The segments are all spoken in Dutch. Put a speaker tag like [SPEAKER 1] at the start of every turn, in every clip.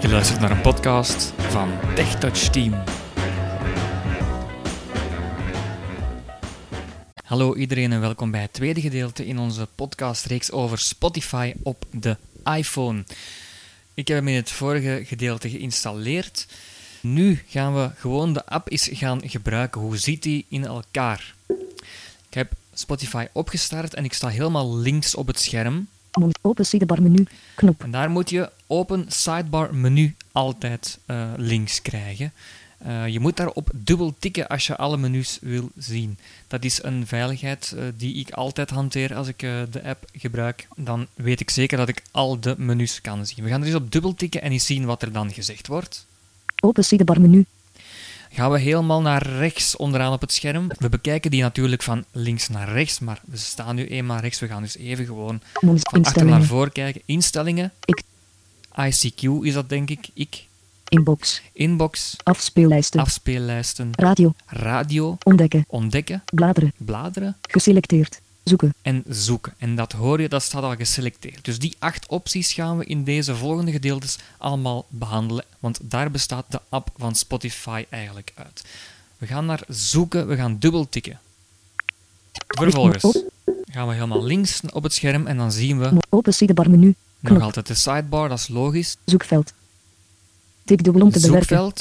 [SPEAKER 1] Je luistert naar een podcast van TechTouch Team. Hallo iedereen en welkom bij het tweede gedeelte in onze podcastreeks over Spotify op de iPhone. Ik heb hem in het vorige gedeelte geïnstalleerd. Nu gaan we gewoon de app eens gaan gebruiken. Hoe zit die in elkaar? Ik heb Spotify opgestart en ik sta helemaal links op het scherm.
[SPEAKER 2] Open sidebar menu. Knop.
[SPEAKER 1] En daar moet je open sidebar menu altijd eh, links krijgen. Eh, je moet daarop dubbel tikken als je alle menus wil zien. Dat is een veiligheid eh, die ik altijd hanteer als ik eh, de app gebruik. Dan weet ik zeker dat ik al de menus kan zien. We gaan er eens op dubbel tikken en eens zien wat er dan gezegd wordt.
[SPEAKER 2] Open sidebar menu.
[SPEAKER 1] Gaan we helemaal naar rechts onderaan op het scherm. We bekijken die natuurlijk van links naar rechts, maar we staan nu eenmaal rechts. We gaan dus even gewoon
[SPEAKER 2] Mons
[SPEAKER 1] van achter naar
[SPEAKER 2] instellingen.
[SPEAKER 1] voren kijken. Instellingen.
[SPEAKER 2] Ik.
[SPEAKER 1] ICQ is dat denk ik. Ik.
[SPEAKER 2] Inbox.
[SPEAKER 1] Inbox.
[SPEAKER 2] Afspeellijsten.
[SPEAKER 1] Afspeellijsten.
[SPEAKER 2] Radio.
[SPEAKER 1] Radio.
[SPEAKER 2] Ontdekken.
[SPEAKER 1] Ontdekken.
[SPEAKER 2] Bladeren.
[SPEAKER 1] Bladeren.
[SPEAKER 2] Geselecteerd. Zoeken.
[SPEAKER 1] En zoeken. En dat hoor je, dat staat al geselecteerd. Dus die acht opties gaan we in deze volgende gedeeltes allemaal behandelen. Want daar bestaat de app van Spotify eigenlijk uit. We gaan naar zoeken, we gaan dubbel tikken. Vervolgens gaan we helemaal links op het scherm en dan zien we
[SPEAKER 2] Open sidebar menu.
[SPEAKER 1] nog
[SPEAKER 2] Knop.
[SPEAKER 1] altijd de sidebar, dat is logisch.
[SPEAKER 2] Zoekveld. Tik dubbel om te bewerken.
[SPEAKER 1] Zoekveld,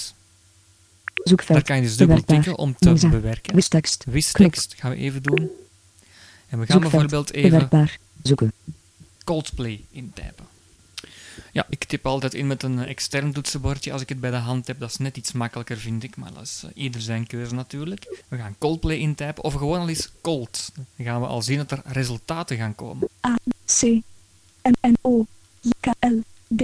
[SPEAKER 1] daar
[SPEAKER 2] Zoekveld.
[SPEAKER 1] kan je dus dubbel
[SPEAKER 2] Bewerkbaar.
[SPEAKER 1] tikken om te
[SPEAKER 2] Lezen.
[SPEAKER 1] bewerken.
[SPEAKER 2] Wistekst.
[SPEAKER 1] Wistekst gaan we even doen. En we gaan
[SPEAKER 2] Zoekveld.
[SPEAKER 1] bijvoorbeeld even
[SPEAKER 2] Bewerkbaar. Zoeken.
[SPEAKER 1] Coldplay intypen. Ja, ik tip altijd in met een eh, extern toetsenbordje als ik het bij de hand heb. Dat is net iets makkelijker, vind ik. Maar dat is eh, ieder zijn keuze natuurlijk. We gaan Coldplay intypen of gewoon al eens cold. Dan gaan we al zien dat er resultaten gaan komen.
[SPEAKER 3] C N N O K L D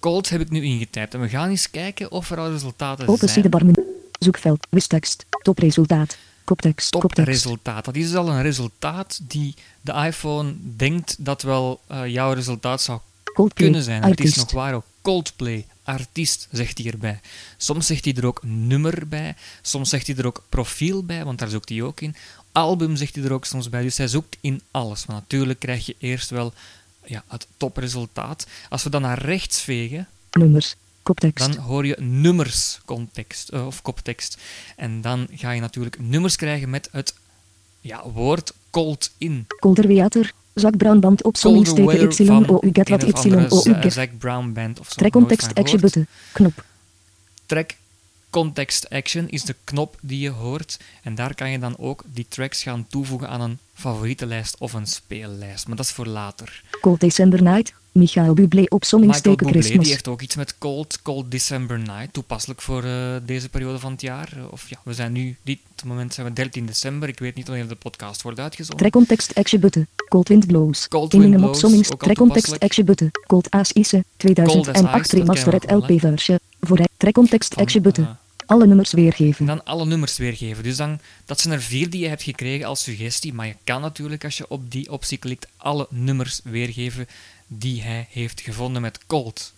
[SPEAKER 1] Cold heb ik nu ingetypt en we gaan eens kijken of er al resultaten
[SPEAKER 2] Open
[SPEAKER 1] zijn.
[SPEAKER 2] sidebar menu. Zoekveld. Wistekst. Topresultaat. Koptekst. Koptekst.
[SPEAKER 1] topresultaat. Dat is dus al een resultaat die de iPhone denkt dat wel eh, jouw resultaat zou kunnen
[SPEAKER 2] Coldplay.
[SPEAKER 1] zijn. Het is
[SPEAKER 2] Artiest.
[SPEAKER 1] nog waar ook. Coldplay, artiest, zegt hij erbij. Soms zegt hij er ook nummer bij. Soms zegt hij er ook profiel bij, want daar zoekt hij ook in. Album zegt hij er ook soms bij. Dus hij zoekt in alles. Maar natuurlijk krijg je eerst wel ja, het topresultaat. Als we dan naar rechts vegen,
[SPEAKER 2] Nummers. Koptekst.
[SPEAKER 1] dan hoor je nummerscontext eh, of koptekst. En dan ga je natuurlijk nummers krijgen met het ja, woord cold in.
[SPEAKER 2] Colder water. Zak bruinband op zommingsteken Y O U get wat
[SPEAKER 1] een of
[SPEAKER 2] Y
[SPEAKER 1] andere
[SPEAKER 2] O U E
[SPEAKER 1] Z-
[SPEAKER 2] get.
[SPEAKER 1] Zac Brown Band of zo.
[SPEAKER 2] Trek
[SPEAKER 1] nooit
[SPEAKER 2] context
[SPEAKER 1] van
[SPEAKER 2] action
[SPEAKER 1] gehoord.
[SPEAKER 2] button. Knop.
[SPEAKER 1] Track Context Action is de knop die je hoort. En daar kan je dan ook die tracks gaan toevoegen aan een favoriete lijst of een speellijst. Maar dat is voor later.
[SPEAKER 2] Cold December Night. Michael Bublé op
[SPEAKER 1] Michael
[SPEAKER 2] zommingsteken
[SPEAKER 1] Bublé die
[SPEAKER 2] Christmas.
[SPEAKER 1] heeft ook iets met Cold, Cold December Night. Toepasselijk voor eh, deze periode van het jaar. Eh, of ja, we zijn nu, dit moment zijn we 13 december. Ik weet niet wanneer de podcast wordt uitgezonden.
[SPEAKER 2] Trek context action button. Cold Wind Blows.
[SPEAKER 1] Cold
[SPEAKER 2] In
[SPEAKER 1] Wind
[SPEAKER 2] een
[SPEAKER 1] Blows,
[SPEAKER 2] opzommings.
[SPEAKER 1] ook al
[SPEAKER 2] Trek context
[SPEAKER 1] toepasselijk.
[SPEAKER 2] action button. Cold As Ise.
[SPEAKER 1] Cold As Ice,
[SPEAKER 2] 2008
[SPEAKER 1] dat
[SPEAKER 2] remastered
[SPEAKER 1] kennen we wel,
[SPEAKER 2] LP
[SPEAKER 1] hè.
[SPEAKER 2] versie. Vooruit. Trek context
[SPEAKER 1] Van,
[SPEAKER 2] action button.
[SPEAKER 1] eh,
[SPEAKER 2] Alle nummers
[SPEAKER 1] En
[SPEAKER 2] weergeven.
[SPEAKER 1] dan alle nummers weergeven. Dus dan, dat zijn er vier die je hebt gekregen als suggestie. Maar je kan natuurlijk, als je op die optie klikt, alle nummers weergeven die hij heeft gevonden met Cold.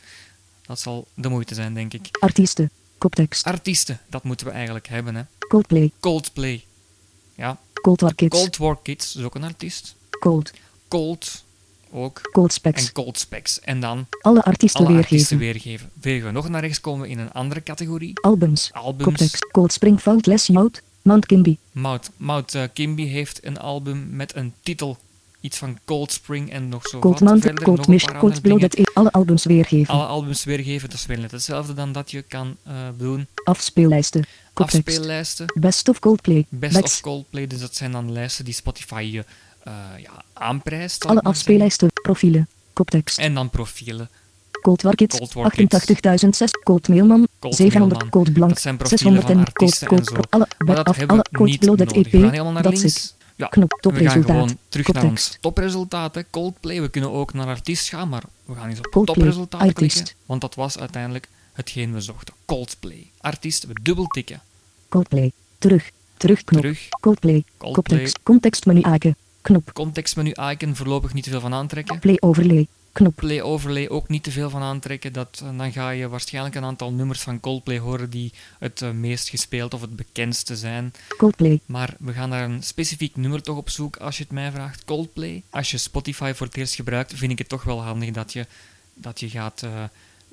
[SPEAKER 1] Dat zal de moeite zijn, denk ik.
[SPEAKER 2] Artiesten. Koptekst.
[SPEAKER 1] Artiesten, dat moeten we eigenlijk hebben. Hè.
[SPEAKER 2] Coldplay.
[SPEAKER 1] Coldplay. Ja,
[SPEAKER 2] Cold War Kids.
[SPEAKER 1] Cold War Kids is ook een artiest.
[SPEAKER 2] Cold.
[SPEAKER 1] Cold ook.
[SPEAKER 2] Cold
[SPEAKER 1] En
[SPEAKER 2] Specs.
[SPEAKER 1] Cold Specs. En dan
[SPEAKER 2] Alle artiesten
[SPEAKER 1] alle artiesten
[SPEAKER 2] weergeven.
[SPEAKER 1] weergeven. Vegen we nog naar rechts, komen we in een andere categorie.
[SPEAKER 2] Albums.
[SPEAKER 1] Albums.
[SPEAKER 2] Koptekst. Cold Springfield Les Youth. Mount Kimby.
[SPEAKER 1] Mout, Mout eh, Kimby heeft een album met een titel. Iets van Cold Spring en nog zo
[SPEAKER 2] Cold
[SPEAKER 1] wat
[SPEAKER 2] Mount.
[SPEAKER 1] verder. nog
[SPEAKER 2] Cold
[SPEAKER 1] een
[SPEAKER 2] Mist.
[SPEAKER 1] paar
[SPEAKER 2] Cold
[SPEAKER 1] andere dingen.
[SPEAKER 2] Blooded. E. Alle albums weergeven.
[SPEAKER 1] Alle albums weergeven, dat is weer net hetzelfde dan dat je kan eh, doen.
[SPEAKER 2] Afspeellijsten. Koptekst.
[SPEAKER 1] Afspeellijsten,
[SPEAKER 2] Best of Coldplay.
[SPEAKER 1] Best
[SPEAKER 2] Backs.
[SPEAKER 1] of Coldplay. Dus dat zijn dan lijsten die Spotify je eh, ja, aanprijst. zal
[SPEAKER 2] Alle
[SPEAKER 1] ik maar zeggen.
[SPEAKER 2] afspeellijsten. Profielen. Koptekst.
[SPEAKER 1] En dan profielen.
[SPEAKER 2] Cold War Kids,
[SPEAKER 1] Cold War Kids.
[SPEAKER 2] 88.006, Cold Mailman,
[SPEAKER 1] Cold
[SPEAKER 2] 700,
[SPEAKER 1] Mailman.
[SPEAKER 2] Cold Blank,
[SPEAKER 1] Dat zijn profielen
[SPEAKER 2] 600
[SPEAKER 1] van
[SPEAKER 2] en Cold,
[SPEAKER 1] artiesten en
[SPEAKER 2] Cold,
[SPEAKER 1] zo.
[SPEAKER 2] Cold, alle,
[SPEAKER 1] Maar
[SPEAKER 2] back
[SPEAKER 1] dat
[SPEAKER 2] af,
[SPEAKER 1] hebben
[SPEAKER 2] alle,
[SPEAKER 1] we
[SPEAKER 2] Cold
[SPEAKER 1] niet
[SPEAKER 2] Blooded
[SPEAKER 1] nodig. We gaan
[SPEAKER 2] EP,
[SPEAKER 1] helemaal naar
[SPEAKER 2] dat
[SPEAKER 1] links.
[SPEAKER 2] zit.
[SPEAKER 1] Ja,
[SPEAKER 2] Knop,
[SPEAKER 1] we gaan
[SPEAKER 2] topresultaat,
[SPEAKER 1] gewoon terug naar ons
[SPEAKER 2] koptekst.
[SPEAKER 1] topresultaten. Coldplay, we kunnen ook naar artiest gaan, maar we gaan eens op
[SPEAKER 2] Coldplay,
[SPEAKER 1] topresultaat
[SPEAKER 2] artiest.
[SPEAKER 1] klikken. Want dat was uiteindelijk hetgeen we zochten. Coldplay. Artiest, we dubbel tikken.
[SPEAKER 2] Coldplay, terug, terugknop,
[SPEAKER 1] Terug.
[SPEAKER 2] Coldplay,
[SPEAKER 1] Coldplay.
[SPEAKER 2] Context, contextmenu aken, knop,
[SPEAKER 1] Contextmenu icon voorlopig niet te veel van aantrekken.
[SPEAKER 2] play overlay, knop,
[SPEAKER 1] Play overlay ook niet te veel van aantrekken. Dat, eh, dan ga je waarschijnlijk een aantal nummers van Coldplay horen die het eh, meest gespeeld of het bekendste zijn.
[SPEAKER 2] Coldplay,
[SPEAKER 1] Maar we gaan naar een specifiek nummer toch op zoek als je het mij vraagt. Coldplay. Als je Spotify voor het eerst gebruikt, vind ik het toch wel handig dat je, dat je gaat eh,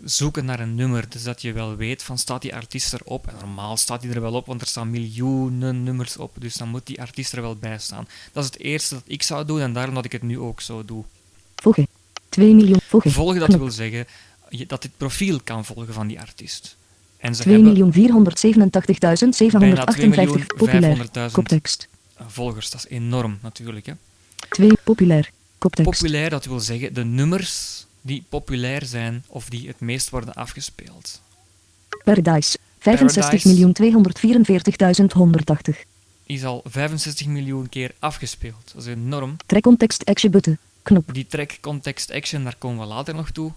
[SPEAKER 1] zoeken naar een nummer. Dus dat je wel weet van staat die artiest erop. En normaal staat die er wel op, want er staan miljoenen nummers op. Dus dan moet die artiest er wel bij staan. Dat is het eerste dat ik zou doen en daarom dat ik het nu ook zo doe.
[SPEAKER 2] Volgen. 2 miljoen. Volgen.
[SPEAKER 1] Volgen, dat
[SPEAKER 2] Knop.
[SPEAKER 1] wil zeggen je- dat dit profiel kan volgen van die artiest. En ze
[SPEAKER 2] 2
[SPEAKER 1] hebben
[SPEAKER 2] miljoen 487.758 populair.
[SPEAKER 1] 2.500.000.
[SPEAKER 2] Koptekst.
[SPEAKER 1] volgers, dat is enorm natuurlijk. Hè?
[SPEAKER 2] 2 populair. Koptekst.
[SPEAKER 1] Populair, dat wil zeggen de nummers die populair zijn of die het meest worden afgespeeld.
[SPEAKER 2] Paradise.
[SPEAKER 1] Paradise.
[SPEAKER 2] 65.244.180.
[SPEAKER 1] Is al 65 miljoen keer afgespeeld. Dat is enorm.
[SPEAKER 2] Trek context action button. Knop.
[SPEAKER 1] Die track, context, action, daar komen we later nog toe.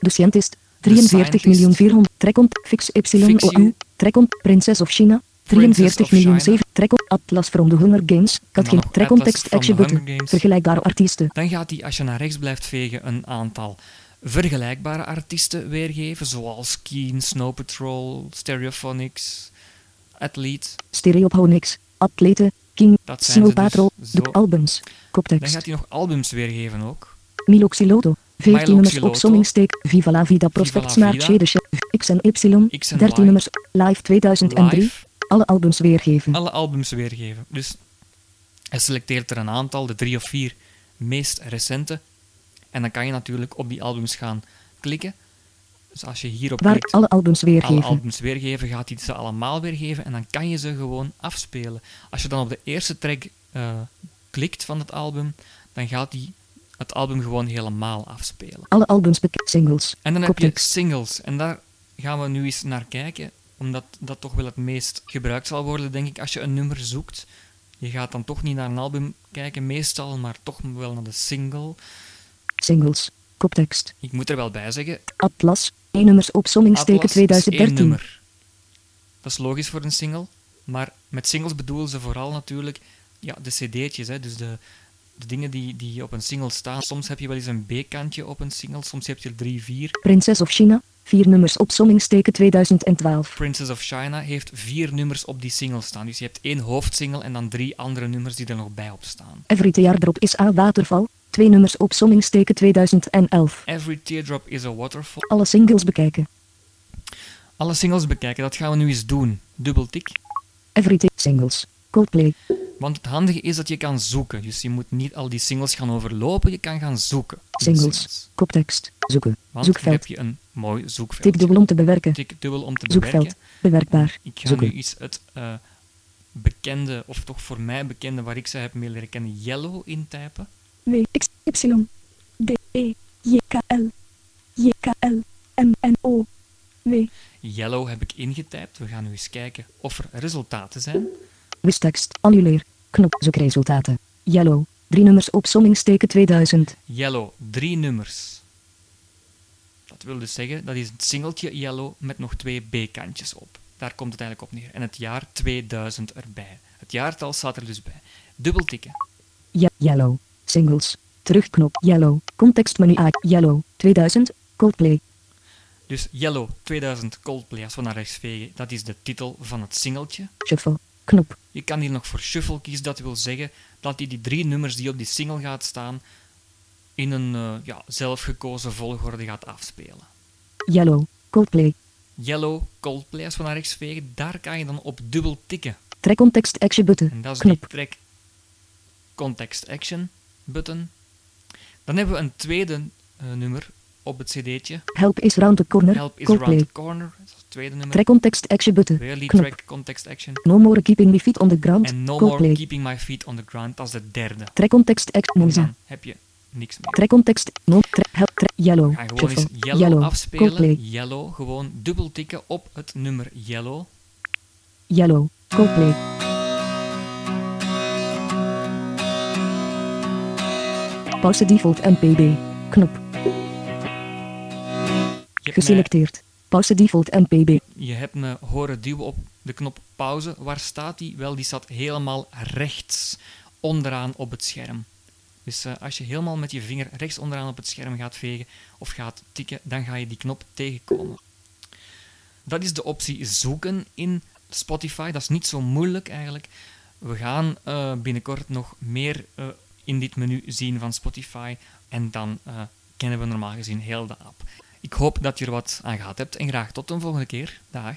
[SPEAKER 2] De Scientist.
[SPEAKER 1] Scientist.
[SPEAKER 2] 43 miljoen 400. Trekont. Fix Y
[SPEAKER 1] Fix
[SPEAKER 2] O
[SPEAKER 1] you.
[SPEAKER 2] U. Trekont. Prinses of China.
[SPEAKER 1] Princess
[SPEAKER 2] 43
[SPEAKER 1] of
[SPEAKER 2] miljoen
[SPEAKER 1] China.
[SPEAKER 2] 7. Trekont. Atlas from the Hunger Games.
[SPEAKER 1] dan
[SPEAKER 2] Dat geen.
[SPEAKER 1] nog
[SPEAKER 2] Trekont.
[SPEAKER 1] Atlas
[SPEAKER 2] Text
[SPEAKER 1] from
[SPEAKER 2] action
[SPEAKER 1] the Hunger
[SPEAKER 2] button.
[SPEAKER 1] Games.
[SPEAKER 2] Vergelijkbare artiesten.
[SPEAKER 1] Dan gaat hij, als je naar rechts blijft vegen, een aantal vergelijkbare artiesten weergeven. Zoals Keen, Snow Patrol, Stereophonics, Athlete.
[SPEAKER 2] Stereophonics. Atleten. King.
[SPEAKER 1] Dat zijn
[SPEAKER 2] Snow
[SPEAKER 1] ze dus.
[SPEAKER 2] Patrol.
[SPEAKER 1] Zo.
[SPEAKER 2] De albums.
[SPEAKER 1] Dan
[SPEAKER 2] Koptekst.
[SPEAKER 1] gaat hij nog albums weergeven ook.
[SPEAKER 2] Milo Xiloto. 14 nummers
[SPEAKER 1] Xiloto.
[SPEAKER 2] op Sommingsteek. Viva la Vida Prospect
[SPEAKER 1] Viva la
[SPEAKER 2] Smaak
[SPEAKER 1] Vida.
[SPEAKER 2] Shedesje. X en Y.
[SPEAKER 1] X en
[SPEAKER 2] 13
[SPEAKER 1] Y.
[SPEAKER 2] nummers. Live 2003.
[SPEAKER 1] Live.
[SPEAKER 2] Alle albums weergeven.
[SPEAKER 1] alle albums weergeven. Dus hij selecteert er een aantal, de drie of vier meest recente. En dan kan je natuurlijk op die albums gaan klikken. Dus als je hierop
[SPEAKER 2] Waar
[SPEAKER 1] klikt,
[SPEAKER 2] alle albums
[SPEAKER 1] alle
[SPEAKER 2] weergeven.
[SPEAKER 1] albums weergeven, gaat hij ze allemaal weergeven. En dan kan je ze gewoon afspelen. Als je dan op de eerste track eh, klikt van het album, dan gaat hij het album gewoon helemaal afspelen.
[SPEAKER 2] Alle albums bekend. Singles.
[SPEAKER 1] En dan heb je
[SPEAKER 2] Koptekst.
[SPEAKER 1] singles. En daar gaan we nu eens naar kijken, omdat dat toch wel het meest gebruikt zal worden, denk ik, als je een nummer zoekt. Je gaat dan toch niet naar een album kijken, meestal, maar toch wel naar de single.
[SPEAKER 2] Singles. Koptekst.
[SPEAKER 1] Ik moet er wel bij zeggen,
[SPEAKER 2] Atlas. 1 nummers op Sommingsteken
[SPEAKER 1] Atlas is één
[SPEAKER 2] 2013.
[SPEAKER 1] nummer. Dat is logisch voor een single, maar met singles bedoelen ze vooral natuurlijk ja, de cd'tjes, hè, dus de, de dingen die, die op een single staan. Soms heb je wel eens een B-kantje op een single, soms heb je er drie, vier.
[SPEAKER 2] Prinses of China. 4 nummers op Sommingsteken 2012.
[SPEAKER 1] Princess of China heeft vier nummers op die single staan. Dus je hebt één hoofdsingle en dan drie andere nummers die er nog bij op staan.
[SPEAKER 2] Every Tear Drop is A Waterval. 2 nummers op Sommingsteken 2011.
[SPEAKER 1] Every Teardrop is a Waterfall.
[SPEAKER 2] Alle singles bekijken.
[SPEAKER 1] Alle singles bekijken, dat gaan we nu eens doen. Dubbel tik.
[SPEAKER 2] Every Tear Singles. Coldplay.
[SPEAKER 1] Want het handige is dat je kan zoeken. Dus je moet niet al die singles gaan overlopen, je kan gaan zoeken. op de
[SPEAKER 2] Singles. Koptekst. Zoeken.
[SPEAKER 1] Want dan
[SPEAKER 2] Zoekveld.
[SPEAKER 1] heb je een mooi zoekveld.
[SPEAKER 2] Tik dubbel om te bewerken.
[SPEAKER 1] Tik dubbel om te
[SPEAKER 2] Zoekveld.
[SPEAKER 1] bewerken.
[SPEAKER 2] Bewerkbaar.
[SPEAKER 1] Ik ga nu
[SPEAKER 2] Zoeken.
[SPEAKER 1] iets het eh, bekende, of toch voor mij bekende, waar ik ze heb mee leren kennen, yellow intypen.
[SPEAKER 3] W, X, Y, D, E, J, K, L, J, K, L, M, N, O, W,
[SPEAKER 1] Yellow heb ik ingetypt. We gaan nu eens kijken of er resultaten zijn.
[SPEAKER 2] Wistekst. Annuleer. Knop. Zoekresultaten. Yellow. 3 nummers op Sommingsteken 2000.
[SPEAKER 1] Yellow, drie nummers. Dat wil dus zeggen, dat is het singeltje Yellow met nog twee B-kantjes op. Daar komt het eigenlijk op neer. En het jaar 2000 erbij. Het jaartal staat er dus bij. Dubbel tikken.
[SPEAKER 2] Ye- yellow. Singles. Terugknop. Yellow. Contextmenu A. Yellow. 2000. Coldplay.
[SPEAKER 1] Dus Yellow 2000 Coldplay, als we naar rechts vegen, dat is de titel van het singeltje.
[SPEAKER 2] Shuffle. Knop.
[SPEAKER 1] Je kan hier nog voor shuffle kiezen. Dat wil zeggen dat hij die drie nummers die op die single gaat staan, in een eh, ja, zelfgekozen volgorde gaat afspelen.
[SPEAKER 2] Yellow. Coldplay.
[SPEAKER 1] Yellow Coldplay, als we naar rechts vegen, daar kan je dan op dubbel tikken.
[SPEAKER 2] Trek context action button.
[SPEAKER 1] En dat is die
[SPEAKER 2] Knop.
[SPEAKER 1] track Context Action button. Dan hebben we een tweede eh, nummer op het cd'tje.
[SPEAKER 2] Help is round the corner.
[SPEAKER 1] Help is Around
[SPEAKER 2] Coldplay.
[SPEAKER 1] the Corner. Dat is het tweede nummer.
[SPEAKER 2] Trek context action button.
[SPEAKER 1] Weer die
[SPEAKER 2] Knop.
[SPEAKER 1] track Context Action.
[SPEAKER 2] No more keeping my feet on the ground.
[SPEAKER 1] En No More
[SPEAKER 2] Coldplay.
[SPEAKER 1] Keeping My Feet on the Ground. Dat is de derde.
[SPEAKER 2] Trek context action.
[SPEAKER 1] En
[SPEAKER 2] Monza.
[SPEAKER 1] dan heb je niks meer.
[SPEAKER 2] Trek context. No. Trek. Help. Trek. Yellow.
[SPEAKER 1] We gaan gewoon eens
[SPEAKER 2] Shuffle.
[SPEAKER 1] Yellow, afspelen.
[SPEAKER 2] Coldplay.
[SPEAKER 1] Yellow. Gewoon dubbel tikken op het nummer Yellow.
[SPEAKER 2] Yellow. Coldplay. Pauze default MPB. Knop.
[SPEAKER 1] Je hebt mij-
[SPEAKER 2] Geselecteerd. Pauze default MPB.
[SPEAKER 1] Je hebt me horen duwen op de knop pauze. Waar staat die? Wel, die staat helemaal rechts onderaan op het scherm. Dus eh, als je helemaal met je vinger rechts onderaan op het scherm gaat vegen of gaat tikken, dan ga je die knop tegenkomen. Dat is de optie zoeken in Spotify. Dat is niet zo moeilijk eigenlijk. We gaan eh, binnenkort nog meer eh, in dit menu zien van Spotify. En dan eh, kennen we normaal gezien heel de app. Ik hoop dat je er wat aan gehad hebt en graag tot een volgende keer. Dag.